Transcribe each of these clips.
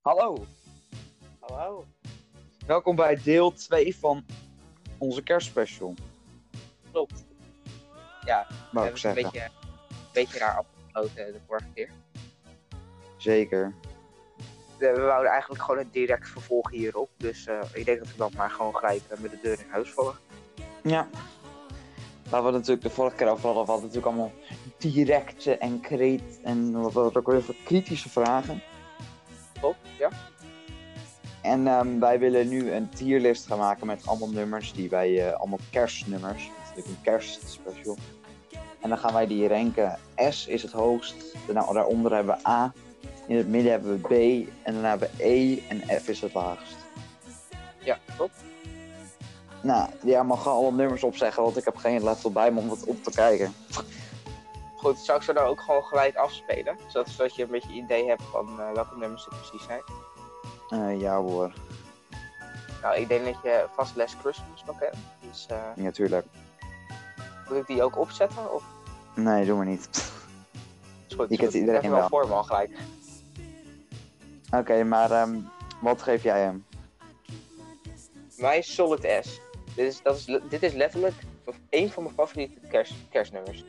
Hallo, Hallo. welkom bij deel 2 van onze kerstspecial. Klopt. We Wou ik hebben het een zeggen. beetje, een beetje raar afgesloten eh, de vorige keer. Zeker. We, we wouden eigenlijk gewoon een direct vervolg hierop. Dus eh, ik denk dat we dan maar gewoon gelijk eh, met de deur in huis vallen. Ja. Waar we het natuurlijk de vorige keer over hadden, we hadden natuurlijk allemaal directe en kreet en wat was het ook weer voor kritische vragen. Klopt, ja. En ehm, wij willen nu een tierlist gaan maken met allemaal nummers die wij, eh, allemaal kerstnummers. Het is natuurlijk een kerstspecial. En dan gaan wij die ranken. S is het hoogst, daarna, daaronder hebben we A, in het midden hebben we B en daarna hebben we E en F is het laagst. Ja, klopt. Nou, jij mag gewoon alle nummers opzeggen, want ik heb geen laptop bij me om het op te kijken. Goed, zou ik ze dan ook gewoon gelijk afspelen? Zodat, zodat je een beetje idee hebt van eh, welke nummers het precies zijn. Eh, ja hoor, Nou, ik denk dat je vast Les Christmas nog hebt. Dus eh, natuurlijk. moet ik die ook opzetten? Of nee, doe maar niet. is goed? Die kent goed. iedereen Ik heb wel wel. voor me al gelijk. Oké, maar ehm, wat geef jij hem? Mijn Solid S. Dit is, dat is, le- dit is letterlijk een van mijn favoriete kerst, kerstnummers.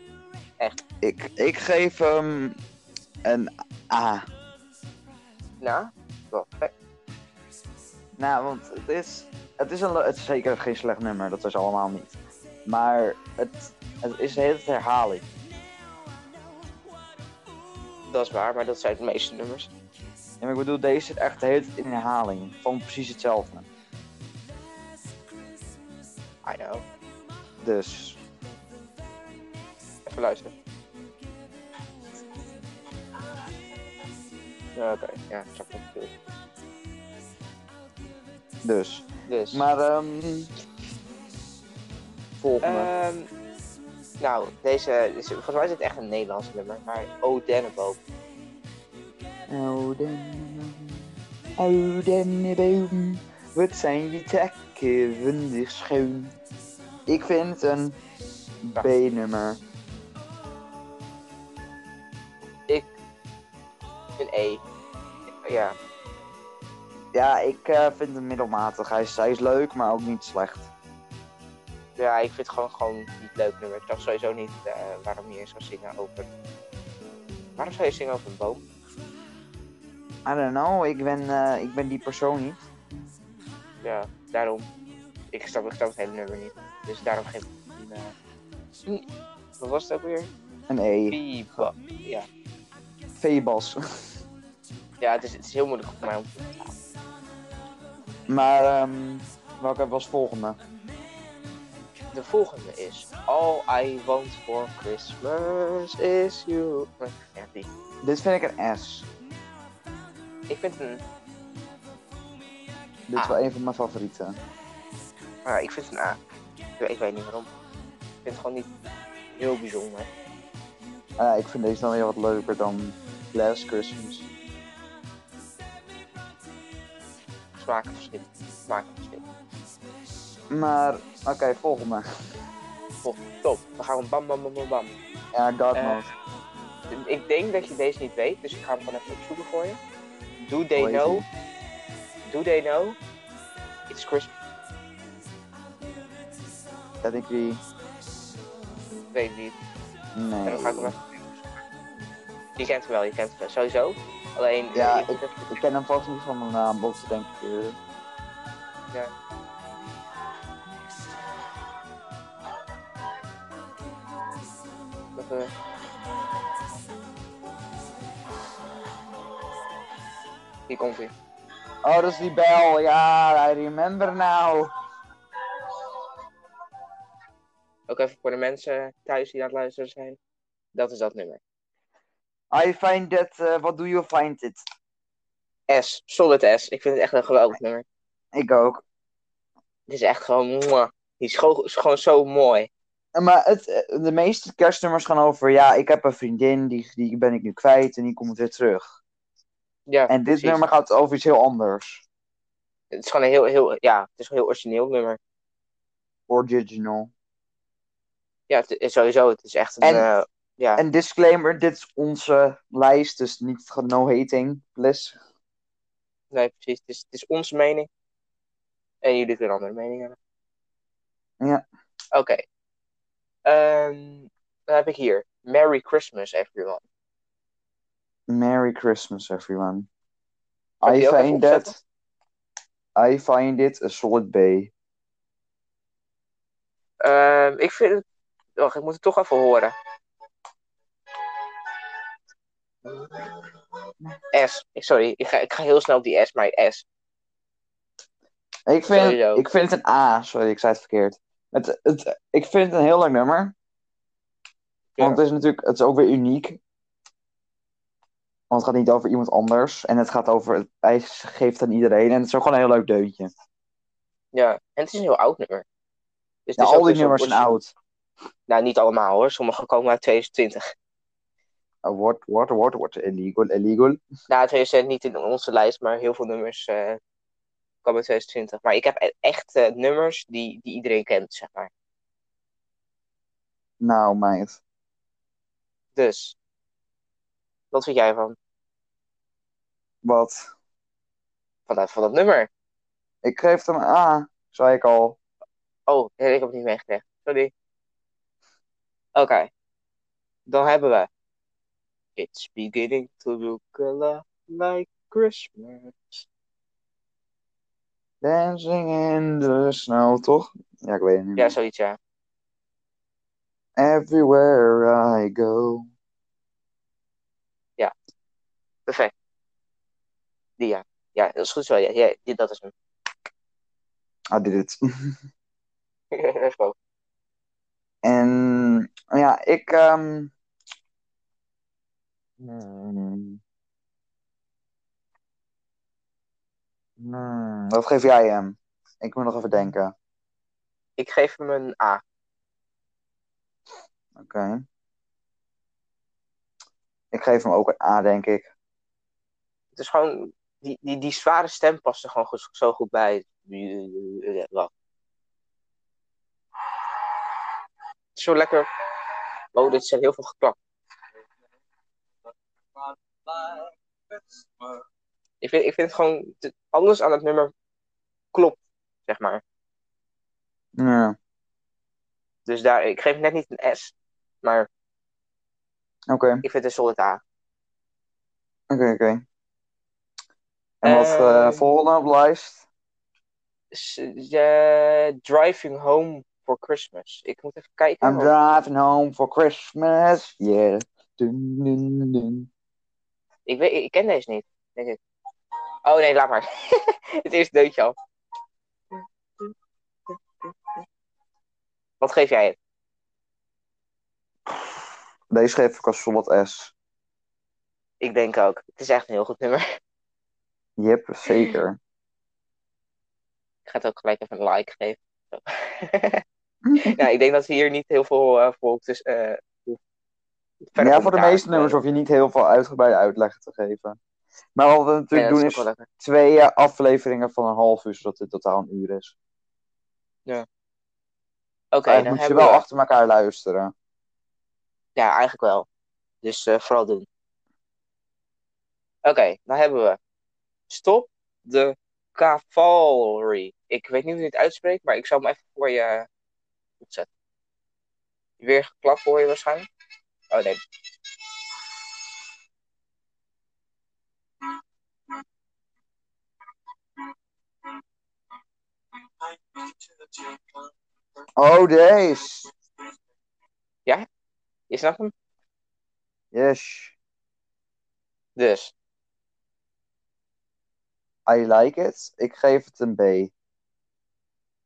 Ik, ik geef hem een A. Nou, wel perfect. Nou, want het is, het is, een, le- het is zeker geen slecht nummer, dat is allemaal niet. Maar het, het is de hele tijd herhaling. Dat is waar, maar dat zijn de meeste nummers. Ja, maar ik bedoel, deze zit echt de hele tijd in herhaling. Van precies hetzelfde. I know. Dus, Even luisteren. Ja, Oké, ja, ik snap wat je bedoelt. dus. Dus, Maar, ehm volgende. ehm, nou, deze, is- volgens mij is het echt een Nederlands nummer, maar Oh Denneboom. Oudenneboom, oudenneboom, wat zijn die takken windig schoon. Ik vind het een B-nummer. Een E. Ja, Ja, ik eh, vind hem middelmatig. Hij is, hij is leuk, maar ook niet slecht. ja, ik vind het gewoon, gewoon niet een leuk nummer. Ik dacht sowieso niet eh, waarom je zou zingen over... Waarom zou je zingen over een boom? I don't know, ik ben, eh, ik ben die persoon niet. Ja, daarom. Ik snap, ik snap het hele nummer niet. Dus daarom geef ik een... eh, wat was het ook weer? Een E. Bebop. Ja, V-bas. ja het, is, het is heel moeilijk voor mij om te vertalen. maar, ehm welke was volgende? De volgende is... All I want for Christmas is you. Ja, die. Dit vind ik een S. Ik vind het een, Dit is Ah. wel een van mijn favorieten. ah, ik vind het een A. Ik, ik weet niet waarom. Ik vind het gewoon niet heel bijzonder. Ah, ik vind deze dan weer wat leuker dan Last Christmas. Smaakverschil. Smaakverschil. Maar, oké, volgende. Top. We gaan gewoon bam bam bam bam bam. Ja, God Eh, knows. Ik denk dat je deze niet weet, dus ik ga hem gewoon even opzoeken voor je. Do they Hoe heet know? Do they know? It's Christmas. Dat ik die... Ik weet het niet. En Nee. dan ga ik hem even... Je kent hem wel, je kent hem wel, sowieso. Alleen, eh, Ja, je moet even- Ik ken hem vast niet van mijn naam, dat is denk ik... eh, Ja. Dat, eh, Hier komt hij. Oh, dat is die bel. Ja, I remember now. Ook even voor de mensen thuis die aan het luisteren zijn. Dat is dat nummer. I find that... eh, what do you find it? S, Solid S. Ik vind het echt een geweldig nummer. Ik ook. Het is echt gewoon mwah. Die is gewoon, is gewoon zo mooi. Eh, Maar het, eh, de meeste kerstnummers gaan over... Ja, ik heb een vriendin, die, die ben ik nu kwijt en die komt weer terug. Ja, En dit precies. nummer gaat over iets heel anders. Het is gewoon een heel, heel, ja, het is een heel origineel nummer. Original. Ja, het is sowieso. Het is echt een... En- eh, ja. En disclaimer, dit is onze lijst, dus niet ge- no hating. Bless. Nee, precies. Het is, het is onze mening. En jullie kunnen andere meningen hebben. Ja. Oké. Ehm, dan heb ik hier. Merry Christmas, everyone. Merry Christmas, everyone. Kan je I die ook even find that. I find it a solid B. Ehm, ik vind het... Wacht, ik moet het toch even horen. S. Sorry, ik ga, ik ga heel snel op die S, maar S. Ik vind, Sowieso. het, ik vind het een A. Sorry, ik zei het verkeerd. Het, het, ik vind het een heel lang nummer. Ja. Want het is natuurlijk het is ook weer uniek. Want het gaat niet over iemand anders. En het gaat over... Hij geeft aan iedereen. En het is ook gewoon een heel leuk deuntje. Ja, en het is een heel oud nummer. Dus het Ja, Nou, is al die ook weer zo'n nummers zijn origi- oud. Nou, niet allemaal hoor. Sommige komen uit 2020. Uh, Wordt, wordt, wordt, wordt. Illegal, illegal. Nou, 2020 niet in onze lijst, maar heel veel nummers eh, komen uit 2020. Maar ik heb e- echt eh, nummers die, die iedereen kent, zeg maar. Nou, meid. Dus, wat vind jij van, Wat? van, dat, van dat nummer? Ik geef hem een A. Zei ik al. Oh, nee, ik heb het niet meegekregen. Sorry. Oké, dan hebben we. It's beginning to look a lot like Christmas. Dancing in the snow, toch? Ja, ik weet het niet. Ja, zoiets ja. Everywhere I go. Perfect. Die ja. Ja, dat is goed zo. Ja, ja die- dat is hem. I did it. Zo. En ja, ik. ehm, hmm. Hmm, Wat geef jij hem? Ik moet nog even denken. Ik geef hem een A. Oké. Ik geef hem ook een A, denk ik. Het is gewoon... Die, die, die zware stem past er gewoon goed, zo goed bij. Wat? Zo lekker... Oh, dit zijn heel veel geklap. Ik vind, ik vind het gewoon... te- Alles aan het nummer klopt, zeg maar. Ja, Dus daar... Ik geef net niet een S. Maar oké. ik vind het een solid A. Oké, oké. En wat eh Ehm. S- eh, driving Home for Christmas. Ik moet even kijken. I'm want- driving home for Christmas, yeah. Dun, dun, dun. Ik, weet, ik ken deze niet, denk ik. Oh nee, laat maar. het is deuntje al. Wat geef jij het? Deze geef ik als solid S. Ik denk ook. Het is echt een heel goed nummer. Yep, zeker. Ik ga het ook gelijk even een like geven. Zo. nou, ik denk dat we hier niet heel veel eh voor dus, eh, verder ja, voor de commentaar. meeste nummers hoef je niet heel veel uitgebreide uitleg te geven. Maar wat we Nee, dat natuurlijk doen ook wel is lekker. twee eh, afleveringen van een half uur, zodat het totaal een uur is. Oké, Maar dan Ah, moet je hebben wel we... achter elkaar luisteren. Ja, eigenlijk wel. Dus eh, vooral doen. Oké, dan hebben we. Stop de cavalry. Ik weet niet hoe je het uitspreekt, maar ik zal hem even voor je eh, opzetten. Weer geklapt hoor je waarschijnlijk. Oh nee. Oh, deze. Je snapt hem? Yes, Dus, I like it. Ik geef het een B.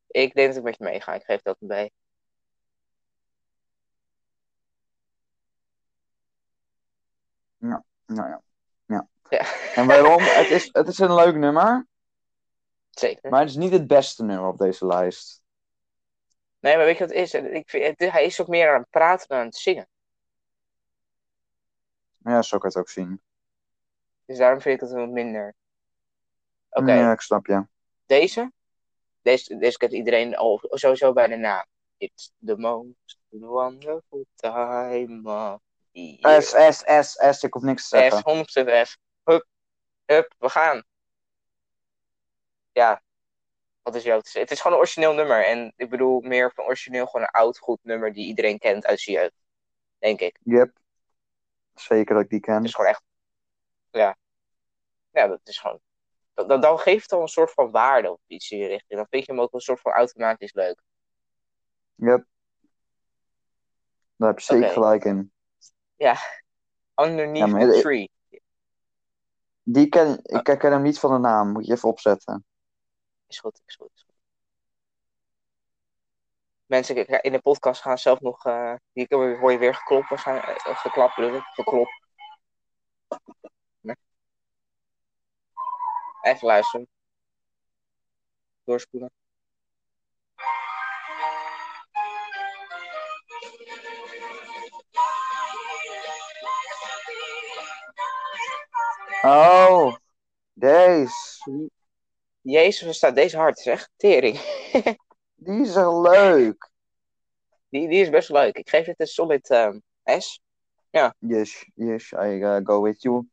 ik denk dat ik met je meega. Ik geef dat een bij. Nou ja. Ja, En waarom? het, is, het is een leuk nummer, zeker. maar het is niet het beste nummer op deze lijst. Nee, maar weet je wat het is? Ik vind, het- hij is ook meer aan het praten dan aan het zingen. Ja, zo kan je het ook zien. Dus daarom vind ik het wat minder. Oké, Ja, ik snap je. Deze? Deze, deze kent iedereen al sowieso bij de naam. It's the most wonderful time of the Ah, year. S, S, S, S. Ik hoef niks te zeggen. S, 100% S. Hup, hup, we gaan. ja, wat is jou te zeggen? Het is gewoon een origineel nummer. En ik bedoel meer van origineel gewoon een oud, goed nummer die iedereen kent uit zijn jeugd. Denk ik. Yep. Zeker dat ik die ken. Het is gewoon echt, ja. Ja, dat is gewoon, dan- dan, dan geeft het al een soort van waarde of iets in je richting. Dan vind je hem ook een soort van automatisch leuk. Yep. Daar heb je zeker Oké. gelijk in. Underneath Ja, maar the het- tree. Die ken, Ah. ik ken hem niet van de naam. Moet je even opzetten. Is goed, is goed. Is goed. Mensen ik- in de podcast gaan zelf nog. eh hier hoor je weer geklopt, waarschijnlijk. eh, Geklapt, bedoel ik. Geklopt. Nee. Even luisteren. Doorspoelen. Oh, deze. Jezus, er staat deze hard, zeg. Tering. Die is echt leuk. Die, die is best leuk. Ik geef dit een solid ehm, S. Yes, yes, I uh, go with you.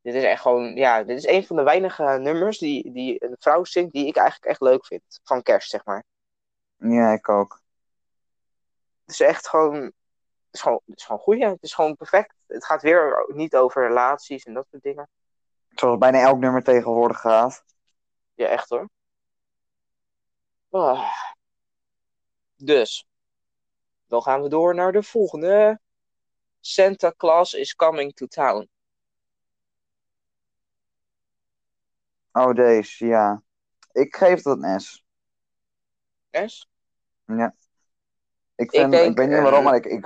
Dit is echt gewoon. Ja, dit is een van de weinige nummers die, die een vrouw zingt die ik eigenlijk echt leuk vind. Van kerst, zeg maar. Ja, ik ook. Het is echt gewoon. Het is gewoon, het is gewoon goed, ja. Het is gewoon perfect. Het gaat weer niet over relaties en dat soort dingen. Zoals bijna elk nummer tegenwoordig gaat. Ja, echt hoor. Ah. Dus. Dan gaan we door naar de volgende. Santa Claus is coming to town. Oh, deze, ja. Ik geef dat een S. Yes? Ik, vind, ik, denk, weet niet waarom, eh, maar ik, ik...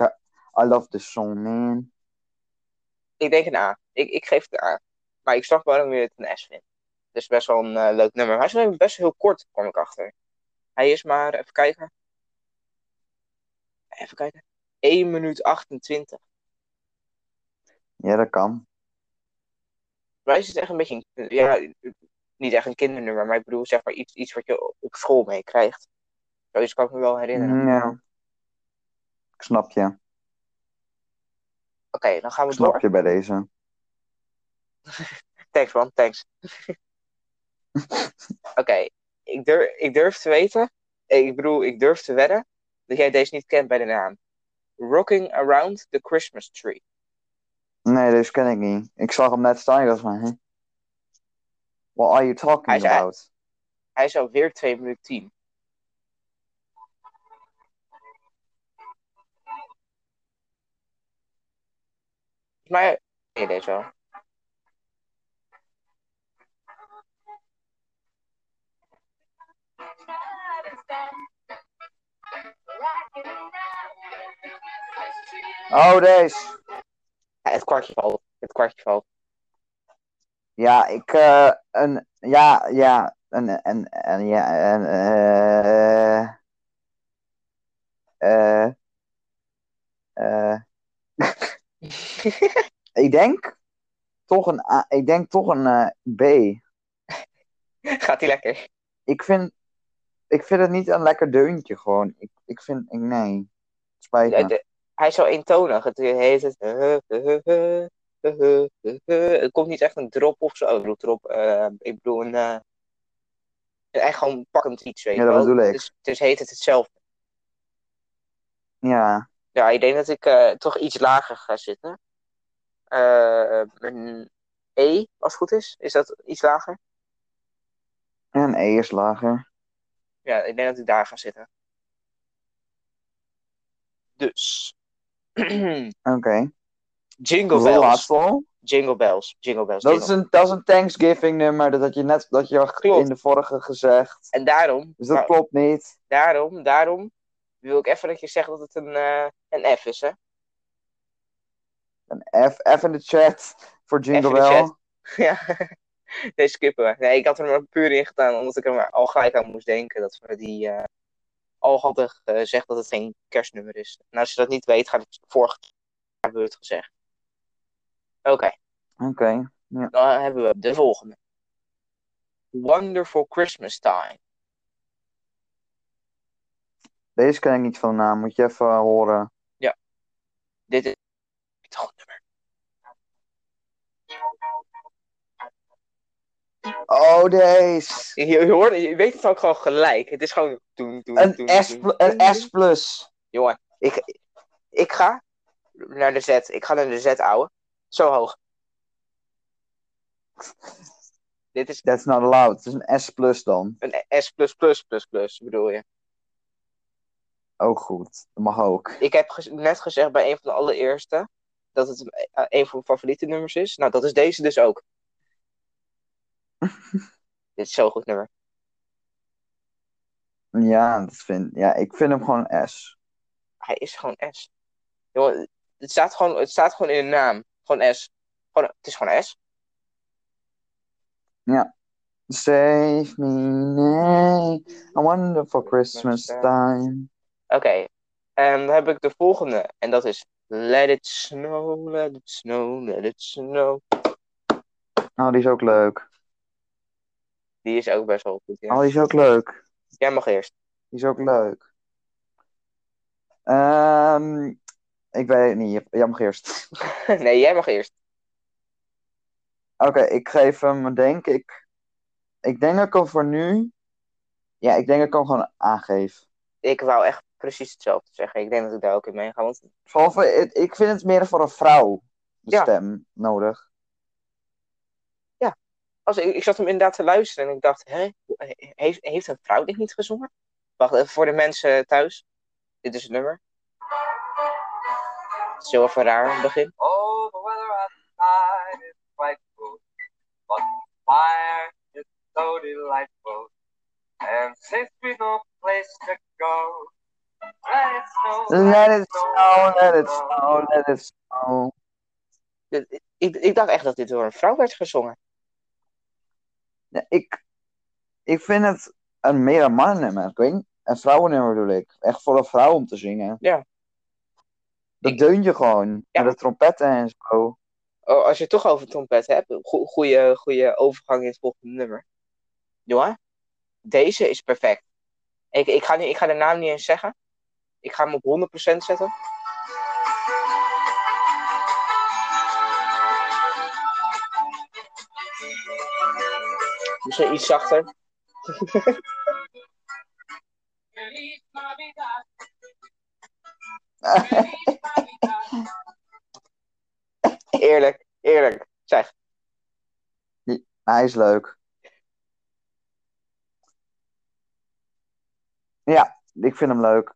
I love the song, man. Ik denk een A. Ik, ik geef het een A. Maar ik snap waarom je het een S vindt. Het is best wel een eh, leuk nummer. Hij is alleen best heel kort, kwam ik achter. Hij is maar, even kijken. Even kijken. 1 minuut 28. Ja, dat kan. Voor mij is het echt een beetje een, ja, niet echt een kindernummer, maar ik bedoel zeg maar iets, iets wat je op school meekrijgt. Zoiets kan ik me wel herinneren. Mm, Ja. Ik snap je. Oké, dan gaan Ik we snap door. je bij deze. Thanks man, thanks. Oké, ik, durf, ik durf te weten, eh, ik bedoel, ik durf te wedden dat jij deze niet kent bij de naam. Rocking Around the Christmas Tree. Nee, deze ken ik niet. Ik zag hem net staan, ik dacht van... hè? What are you Hij talking zei- about? Hij is alweer 2 minuten 10. Maar ken je deze wel? Oh, deze. Ja, het kwartje valt. Het kwartje valt. Ja, ik... eh, een... Ja, ja. Een... Een... een ja, een... eh eh eh, ik denk... Toch een A, ik denk toch een eh, B. Gaat hij lekker? Ik vind... Ik vind het niet een lekker deuntje, gewoon. Ik, ik vind... Ik, nee. Spijt me. Het- het- hij is zo eentonig. Het heet het. eh, Het komt niet echt een drop of zo. Ik bedoel, drop. eh, ik bedoel, een. eh, echt gewoon pakkend iets. Weet Ja, je dat wel. bedoel ik. Dus, dus heet het hetzelfde. Ja. Ja, ik denk dat ik eh, toch iets lager ga zitten. Eh, een E, als het goed is. Is dat iets lager? En E is lager. Ja, ik denk dat ik daar ga zitten. Dus. Oké. Dat Jingle is de bells. laatste al. Jingle bells. Jingle bells. Dat Jingle. is een, dat is een Thanksgiving nummer. Dat had je net dat je al Klopt. in de vorige gezegd. En daarom, Dus dat maar- klopt niet. daarom, daarom wil ik even dat je zegt dat het een, eh, een F is, hè? Een F, F in de chat voor Jingle F in de Bell. chat. Ja. Deze skippen we. Nee, ik had er maar puur in gedaan, omdat ik er maar al gelijk aan moest denken dat we die eh al hadden eh, gezegd dat het geen kerstnummer is. En als je dat niet weet, gaat het vorige keer hebben we het gezegd. Oké, Oké. dan hebben we de volgende. Wonderful Christmas Time. Deze ken ik niet van de naam. Moet je even eh, horen. Dit is het goed nummer. Oh, deze. Je, je, hoort, je weet het ook gewoon gelijk. Het is gewoon doen, doen, doen, Een S, doen. pl- een S plus. Jongen, ik, ik ga naar de Z. Ik ga naar de Z, ouwe. Zo hoog. Dit is That's not allowed. Het is een S plus dan. een S+++++, bedoel je. Ook goed. Dat mag ook. Ik heb gez- net gezegd bij een van de allereerste dat het een- eh, een van mijn favoriete nummers is. Nou, dat is deze dus ook. Dit is zo'n goed nummer. Ja, dat vind, ja, ik vind hem gewoon een S. Hij is gewoon S. Jongen, het staat gewoon, het staat gewoon in de naam. Gewoon S. Gewoon, het is gewoon S. Save me, nay. A wonderful Christmas time. Oké. En dan heb ik de volgende. En dat is Let it snow, let it snow, let it snow. Oh, die is ook leuk. Die is ook best wel goed. Ja. Oh, die is ook leuk. Jij mag eerst. Die is ook leuk. Ehm, ik weet het niet. Jij mag eerst. nee, jij mag eerst. Oké, ik geef hem, denk ik. Ik denk dat ik hem voor nu. Ja, ik denk dat ik hem gewoon aangeef. Ik wou echt precies hetzelfde zeggen. Ik denk dat ik daar ook in mee ga. Want Vooral voor, ik- ik vind het meer voor een vrouw de Ja. stem nodig. als, ik, ik zat hem inderdaad te luisteren en ik dacht, hè, heeft, heeft een vrouw dit niet gezongen? Wacht even voor de mensen thuis. Dit is het nummer. Het is heel even raar in het begin. Oh, the weather outside is frightful, but the fire is so delightful. And since we've no place to go, let it snow. Let it snow, let it snow, let it snow. Dit- Ik, ik dacht echt dat dit door een vrouw werd gezongen. Ja, ik, ik vind het een meer een mannennummer. Ik weet niet, een vrouwennummer bedoel ik. Echt voor een vrouw om te zingen. Ja. Dat Ik- deun je gewoon. Ja. Met de trompetten en zo. Oh, als je het toch over trompet hebt, go- goede, goede overgang in het volgende nummer. Jongen, deze is perfect. Ik, ik, ga niet, ik ga de naam niet eens zeggen. Ik ga hem op 100% zetten. Misschien iets zachter. Feliz Navidad, Eerlijk, eerlijk. Zeg, Hij is leuk. Ja, ik vind hem leuk.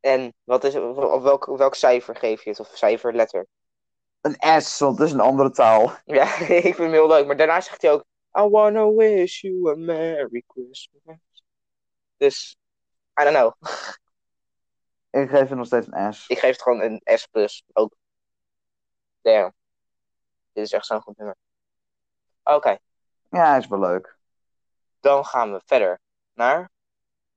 en wat is, op welk, welk cijfer geef je het? Of cijferletter? Een S, want het is een andere taal. Ja, ik vind hem heel leuk. Maar daarna zegt hij ook... I wanna wish you a Merry Christmas. Dus, I don't know. Ik geef hem nog steeds een S. Ik geef het gewoon een S+. Ook. Damn. Dit is echt zo'n goed nummer. Oké, Ja, hij is wel leuk. dan gaan we verder naar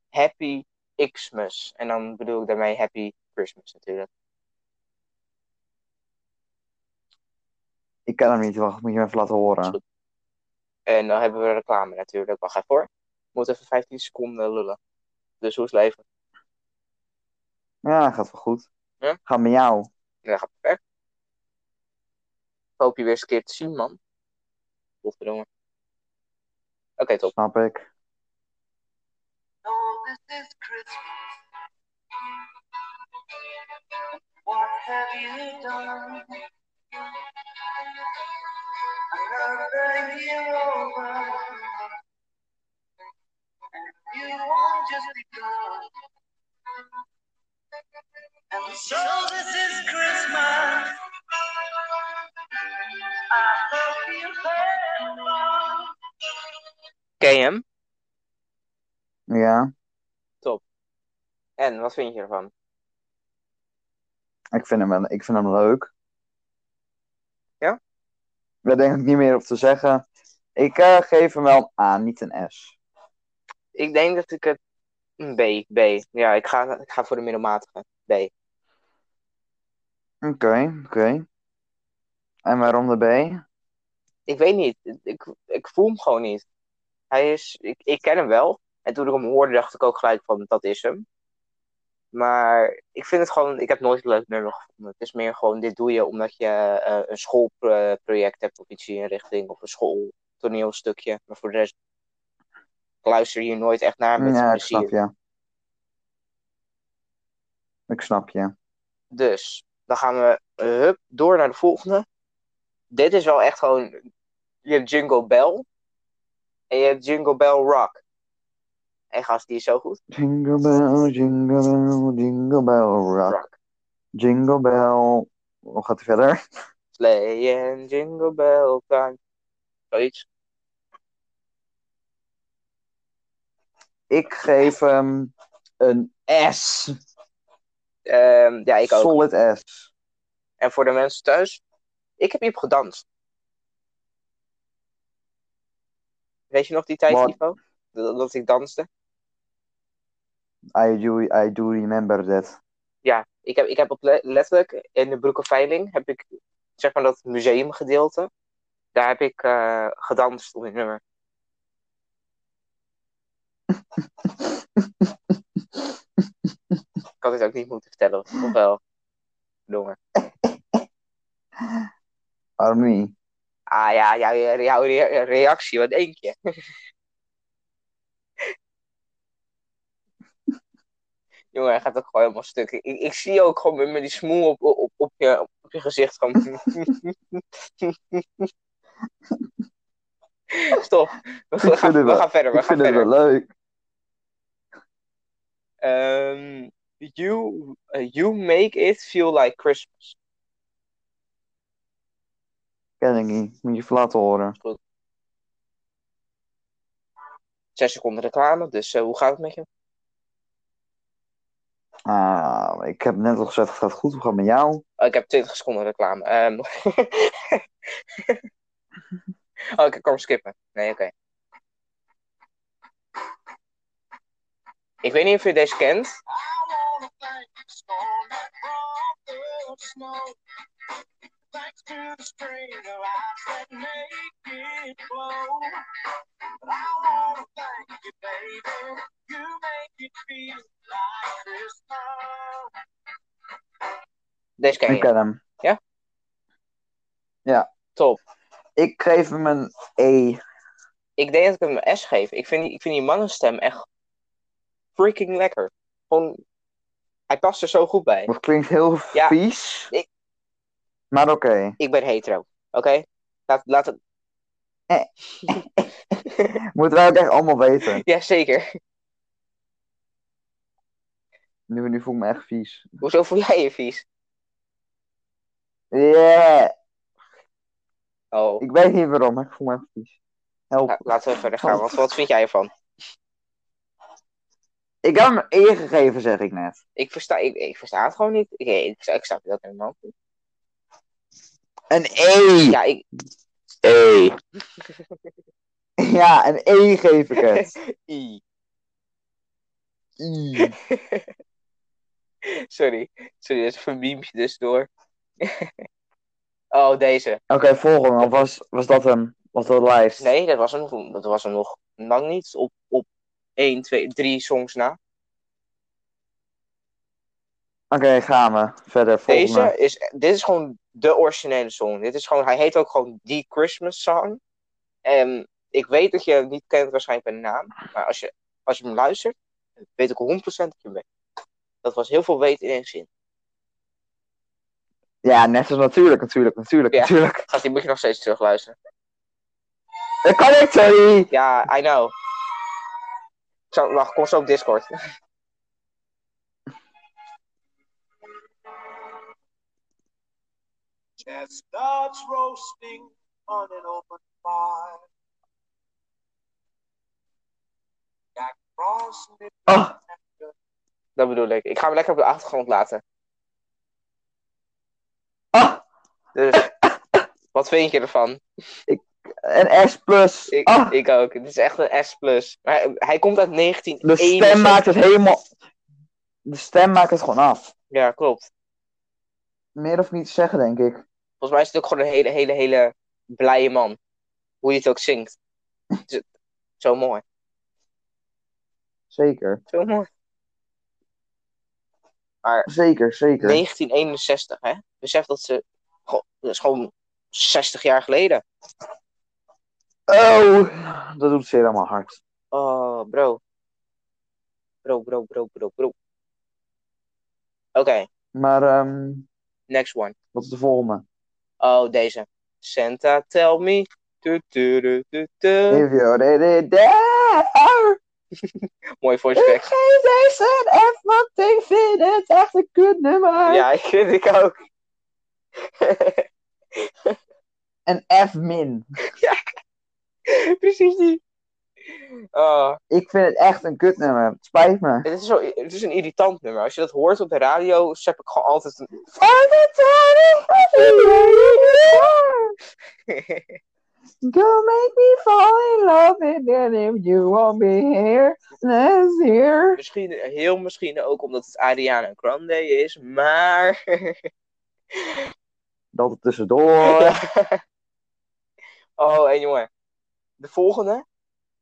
Happy Xmas. En dan bedoel ik daarmee Happy Christmas natuurlijk. Ik ken hem niet, wacht, moet je hem even laten Is horen. goed. En dan hebben we reclame natuurlijk. Wacht even hoor. Moet even 15 seconden lullen. Dus hoe is het leven? Ja, gaat wel goed. Ja? Ga met jou. En dan gaat het perfect. Ik hoop je weer eens een keer te zien, man. Godverdomme. Oké, top. Snap ik. no, this is Christmas. What have you done? Another year over, and you won't just begun. And so this is Christmas. I hope you had fun. Ken je hem? Ja, En wat vind je ervan? ik vind hem, wel- ik vind hem leuk. Ja? Daar denk ik niet meer op te zeggen. Ik eh, geef hem wel een A, niet een S. Ik denk dat ik het. een B, B. Ja, ik ga, ik ga voor de middelmatige. B. Oké, oké. En waarom de B? Ik weet niet. Ik, ik voel hem gewoon niet. Hij is. Ik, ik ken hem wel. En toen ik hem hoorde, dacht ik ook gelijk van dat is hem. Maar ik vind het gewoon. Ik heb nooit een leuk nummer gevonden. Het is meer gewoon: dit doe je omdat je eh, een schoolproject hebt of iets in die richting. Of een school toneelstukje. Maar voor de rest, ik luister hier nooit echt naar met ja, ik plezier. snap je. Ik snap je. Dus, dan gaan we eh, hup, door naar de volgende. Dit is wel echt gewoon... Je hebt Jungle Bell. En je hebt Jungle Bell Rock. En gast, die is zo goed. Jingle bell, jingle bell, jingle bell rock. Rock. Jingle bell... Hoe gaat het verder? Slay and Jingle Bell Time. Zoiets. Ik geef hem een S. Ehm, ja, ik ook. Solid S. En voor de mensen thuis, ik heb hierop gedanst. Weet je nog die tijd, Wat? Ivo? Dat, dat ik danste? I do, I do remember that. Ik heb, ik heb op le- letterlijk in de Broekenveiling, heb ik zeg maar dat museumgedeelte, daar heb ik eh, gedanst op dit nummer. ik had het ook niet moeten vertellen, of wel? Verdomme. Waarom niet? Ah ja, jouw, jouw re- reactie, wat denk je? Jongen, hij gaat ook gewoon helemaal stuk. Ik, ik zie ook gewoon met, met die smoel op, op, op, je, op je gezicht. Gewoon... Stop. We, vind gaan, het we wel- gaan verder. We Ik gaan vind het verder. wel leuk. Ehm, you, eh, you make it feel like Christmas. Ken ik niet. Moet je even laten horen. Zes seconden reclame, dus eh, hoe gaat het met je? Ah, ik heb net al gezegd, het gaat goed. Hoe gaat het met jou? Oh, ik heb 20 seconden reclame. Ehm. oh, ik kan hem skippen. Nee, oké. Ik weet niet of je deze kent. Deze ken Ik je. ken hem. Top. Ik geef hem een E. Ik denk dat ik hem een S geef. Ik vind, die- ik vind die mannenstem echt freaking lekker. Gewoon, hij past er zo goed bij. Dat klinkt heel Ja. vies. Ik- Maar oké. Ik ben hetero, oké? Laat, laat het... Moeten wij het echt allemaal weten. Jazeker. Nu, nu voel ik me echt vies. Hoezo voel jij je vies? Yeah. Oh, Ik weet niet waarom, maar ik voel me echt vies. Help. la- Nou, laten we verder gaan. Wat, wat vind jij ervan? Ik heb hem een E gegeven, zeg ik net. Ik versta, ik, ik versta het gewoon niet. Ik, ik, ik snap dat helemaal niet. Een E! Ja, ik, E. ja, een E geef ik het. I. I. Sorry. Sorry, dat is even een miempje dus door. oh, deze. Oké, volgende. Of was, was dat hem? Was dat de lijst? Nee, dat was hem, nog- dat was hem nog lang niet. Op, op 1, 2, 3 songs na. Oké, gaan we. Verder, volgende. Deze is, dit is gewoon de originele song. Dit is gewoon, hij heet ook gewoon The Christmas Song. En ik weet dat je hem niet kent waarschijnlijk bij naam. Maar als je, als je hem luistert, weet ik 100% dat je hem weet. Dat was heel veel weten in één zin. Ja, net als natuurlijk, natuurlijk, natuurlijk, Ja. natuurlijk. Gaat die moet je nog steeds terugluisteren. Dat kan ik, sorry! Ja, I know. Ik zal, wacht, kom zo op Discord. Chestnuts roasting on an open fire. Jack Frost nipping Oh, Dat bedoel ik. Ik ga hem lekker op de achtergrond laten. oh, Dus, wat vind je ervan? een S+. Plus. Ik, Ah, ik ook. Het is echt een S+. Maar hij, hij komt uit de 1961. stem maakt het helemaal... De stem maakt het gewoon af. Ja, klopt. Meer of niet te zeggen, denk ik. Volgens mij is het ook gewoon een hele, hele, hele blije man. Hoe je het ook zingt. Het is Zo mooi. Zeker. Zo mooi. Zeker, zeker. 1961, hè? Besef dat ze... Goh, dat is gewoon 60 jaar geleden. Oh, dat doet zeer aan mijn hart. Oh, bro. Bro, bro, bro, bro, bro. Oké, Maar ehm, next one. wat is de volgende? Oh, deze. Santa, tell me. Tu, tu, tu, tu, tu. If you did it there, Mooi voice ik crack. geef deze een F, want ik vind het echt een kut nummer. Ja, ik vind ik ook. Een F min. Precies die. Oh, Ik vind het echt een kut nummer. Het spijt me. het, is zo, het is een irritant nummer. Als je dat hoort op de radio, heb ik gewoon altijd een... Go make me fall in love and then if you won't be here, that's here. Misschien, heel misschien ook omdat het Ariana Grande is, maar... Dat er tussendoor. Oh, en jongen. De volgende.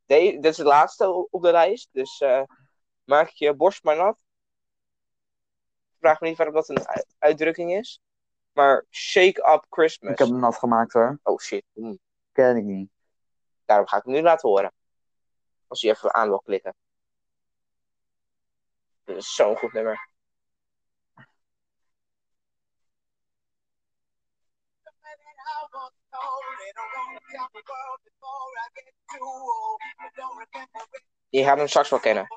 De, dit is de laatste o- op de lijst. Dus eh, maak je borst maar nat. Vraag me niet waarom dat een u- uitdrukking is. Maar shake up Christmas. Ik heb hem nat gemaakt hoor. Oh shit. Hm, Ken ik niet. Daarom ga ik hem nu laten horen. Als je even aan wil klikken. Dit is zo'n goed nummer. Je gaat hem straks wel kennen.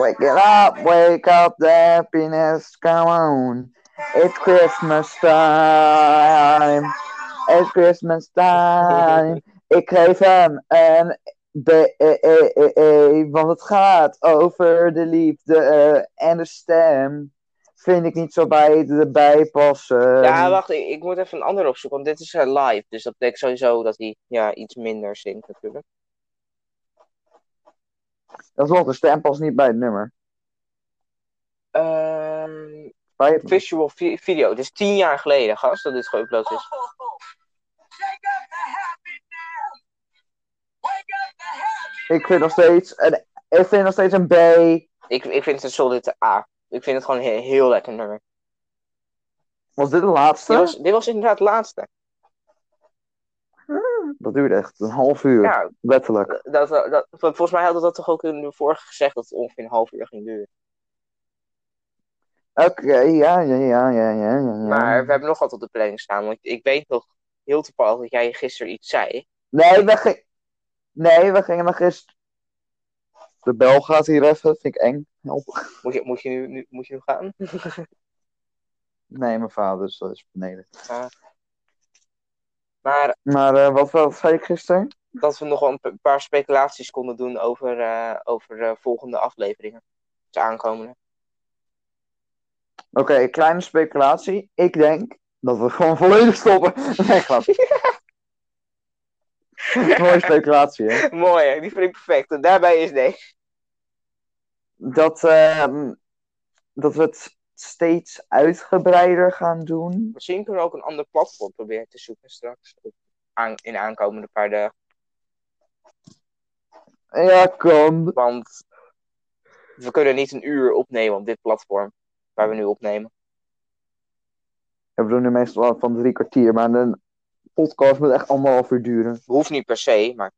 Wake it up, wake up the happiness, come on. It's Christmas time. It's Christmas time. Ik geef hem een B, E, E, E, E, want het gaat over de liefde eh, en de stem. Vind ik niet zo bij erbij passen. Ja, wacht. Ik, ik moet even een ander opzoeken. Want dit is eh, live. Dus dat betekent sowieso dat hij ja, iets minder zingt natuurlijk. Dat is nog, de stem past niet bij het nummer. Ehm Spijt me. visual vi- video. Dit is tien jaar geleden, gast, dat dit geüpload is. Ik vind nog steeds een, ik vind nog steeds een B. Ik, ik vind het een solide A. Ik vind het gewoon een he- heel, lekker nummer. Was dit de Dit laatste? was, dit was inderdaad het laatste. Dat duurde echt een half uur. Ja, Letterlijk. Nou, dat, dat, volgens mij hadden we dat toch ook in de vorige gezegd dat het ongeveer een half uur ging duren. Oké, ja, ja, ja, ja, ja, ja. Maar we hebben nog wat op de planning staan. Want ik weet nog heel toevallig dat jij gisteren iets zei. Nee, we gingen... Nee, we gingen nog gisteren... De bel gaat hier even, vind ik eng. Help. Moet je, moet je, nu, nu, moet je nu gaan? Nee, mijn vader is, is beneden. Maar Maar eh, wat, wat zei ik gisteren? dat we nog wel een pa- paar speculaties konden doen over, eh, over eh, volgende afleveringen. Dus aankomende. Oké, kleine speculatie. Ik denk dat we gewoon volledig stoppen. Nee, grap. Mooie speculatie, hè? Mooi, hè? die vind ik perfect. En daarbij is deze. dat, ehm, dat we het steeds uitgebreider gaan doen. Misschien kunnen we ook een ander platform proberen te zoeken straks. Op- Aan, in de aankomende paar dagen. Ja, kan. Want we kunnen niet een uur opnemen op dit platform. Waar we nu opnemen. Ja, we doen nu meestal wel van drie kwartier, maar een podcast moet echt anderhalf uur duren. Hoeft niet per se, maar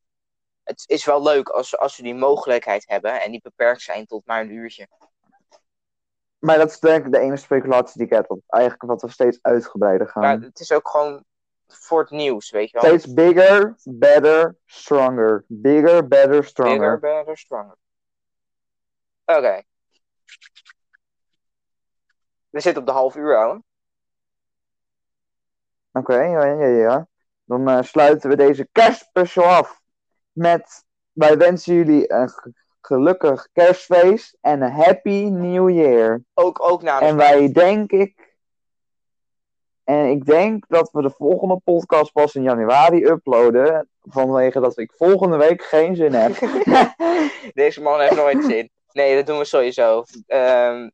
het is wel leuk als, als we die mogelijkheid hebben. En niet beperkt zijn tot maar een uurtje. Maar dat is denk ik de enige speculatie die ik heb. dat Eigenlijk wat we steeds uitgebreider gaan. Maar het is ook gewoon voor het nieuws, weet je wel. Steeds bigger, better, stronger. Bigger, better, stronger. Bigger, better, stronger. Oké. We zitten op de half uur, ouwe. Oké, ja, ja, ja. Dan eh, sluiten we deze kerstspecial af met... Wij wensen jullie een ge- gelukkig kerstfeest en een happy new year. Ook, ook namens En wij denk ik. En ik denk dat we de volgende podcast pas in januari uploaden. Vanwege dat ik volgende week geen zin heb. Deze man heeft nooit zin. Nee, dat doen we sowieso. Ehm,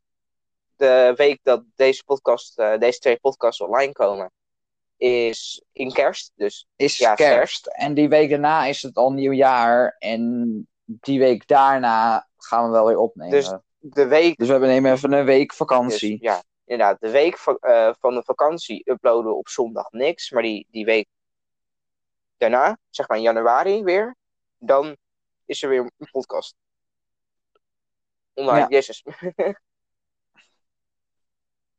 de week dat deze, podcast, eh, deze twee podcasts online komen, is in kerst. Dus Is ja, kerst. kerst. En die week daarna is het al nieuwjaar. En die week daarna gaan we wel weer opnemen. Dus, Dus- De week we hebben nemen even een week vakantie. Dus, ja, inderdaad. De week van, eh, van de vakantie uploaden we op zondag niks. Maar die, die week daarna, zeg maar in januari weer, dan is er weer een podcast. Online, Ja. jezus.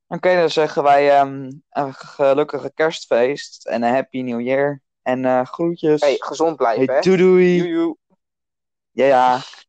Oké, dan zeggen wij ehm, een gelukkige kerstfeest en een happy new year. En eh groetjes. Hey, gezond blijven, Hey, hè. doei doei. Joejoe. Ja, ja.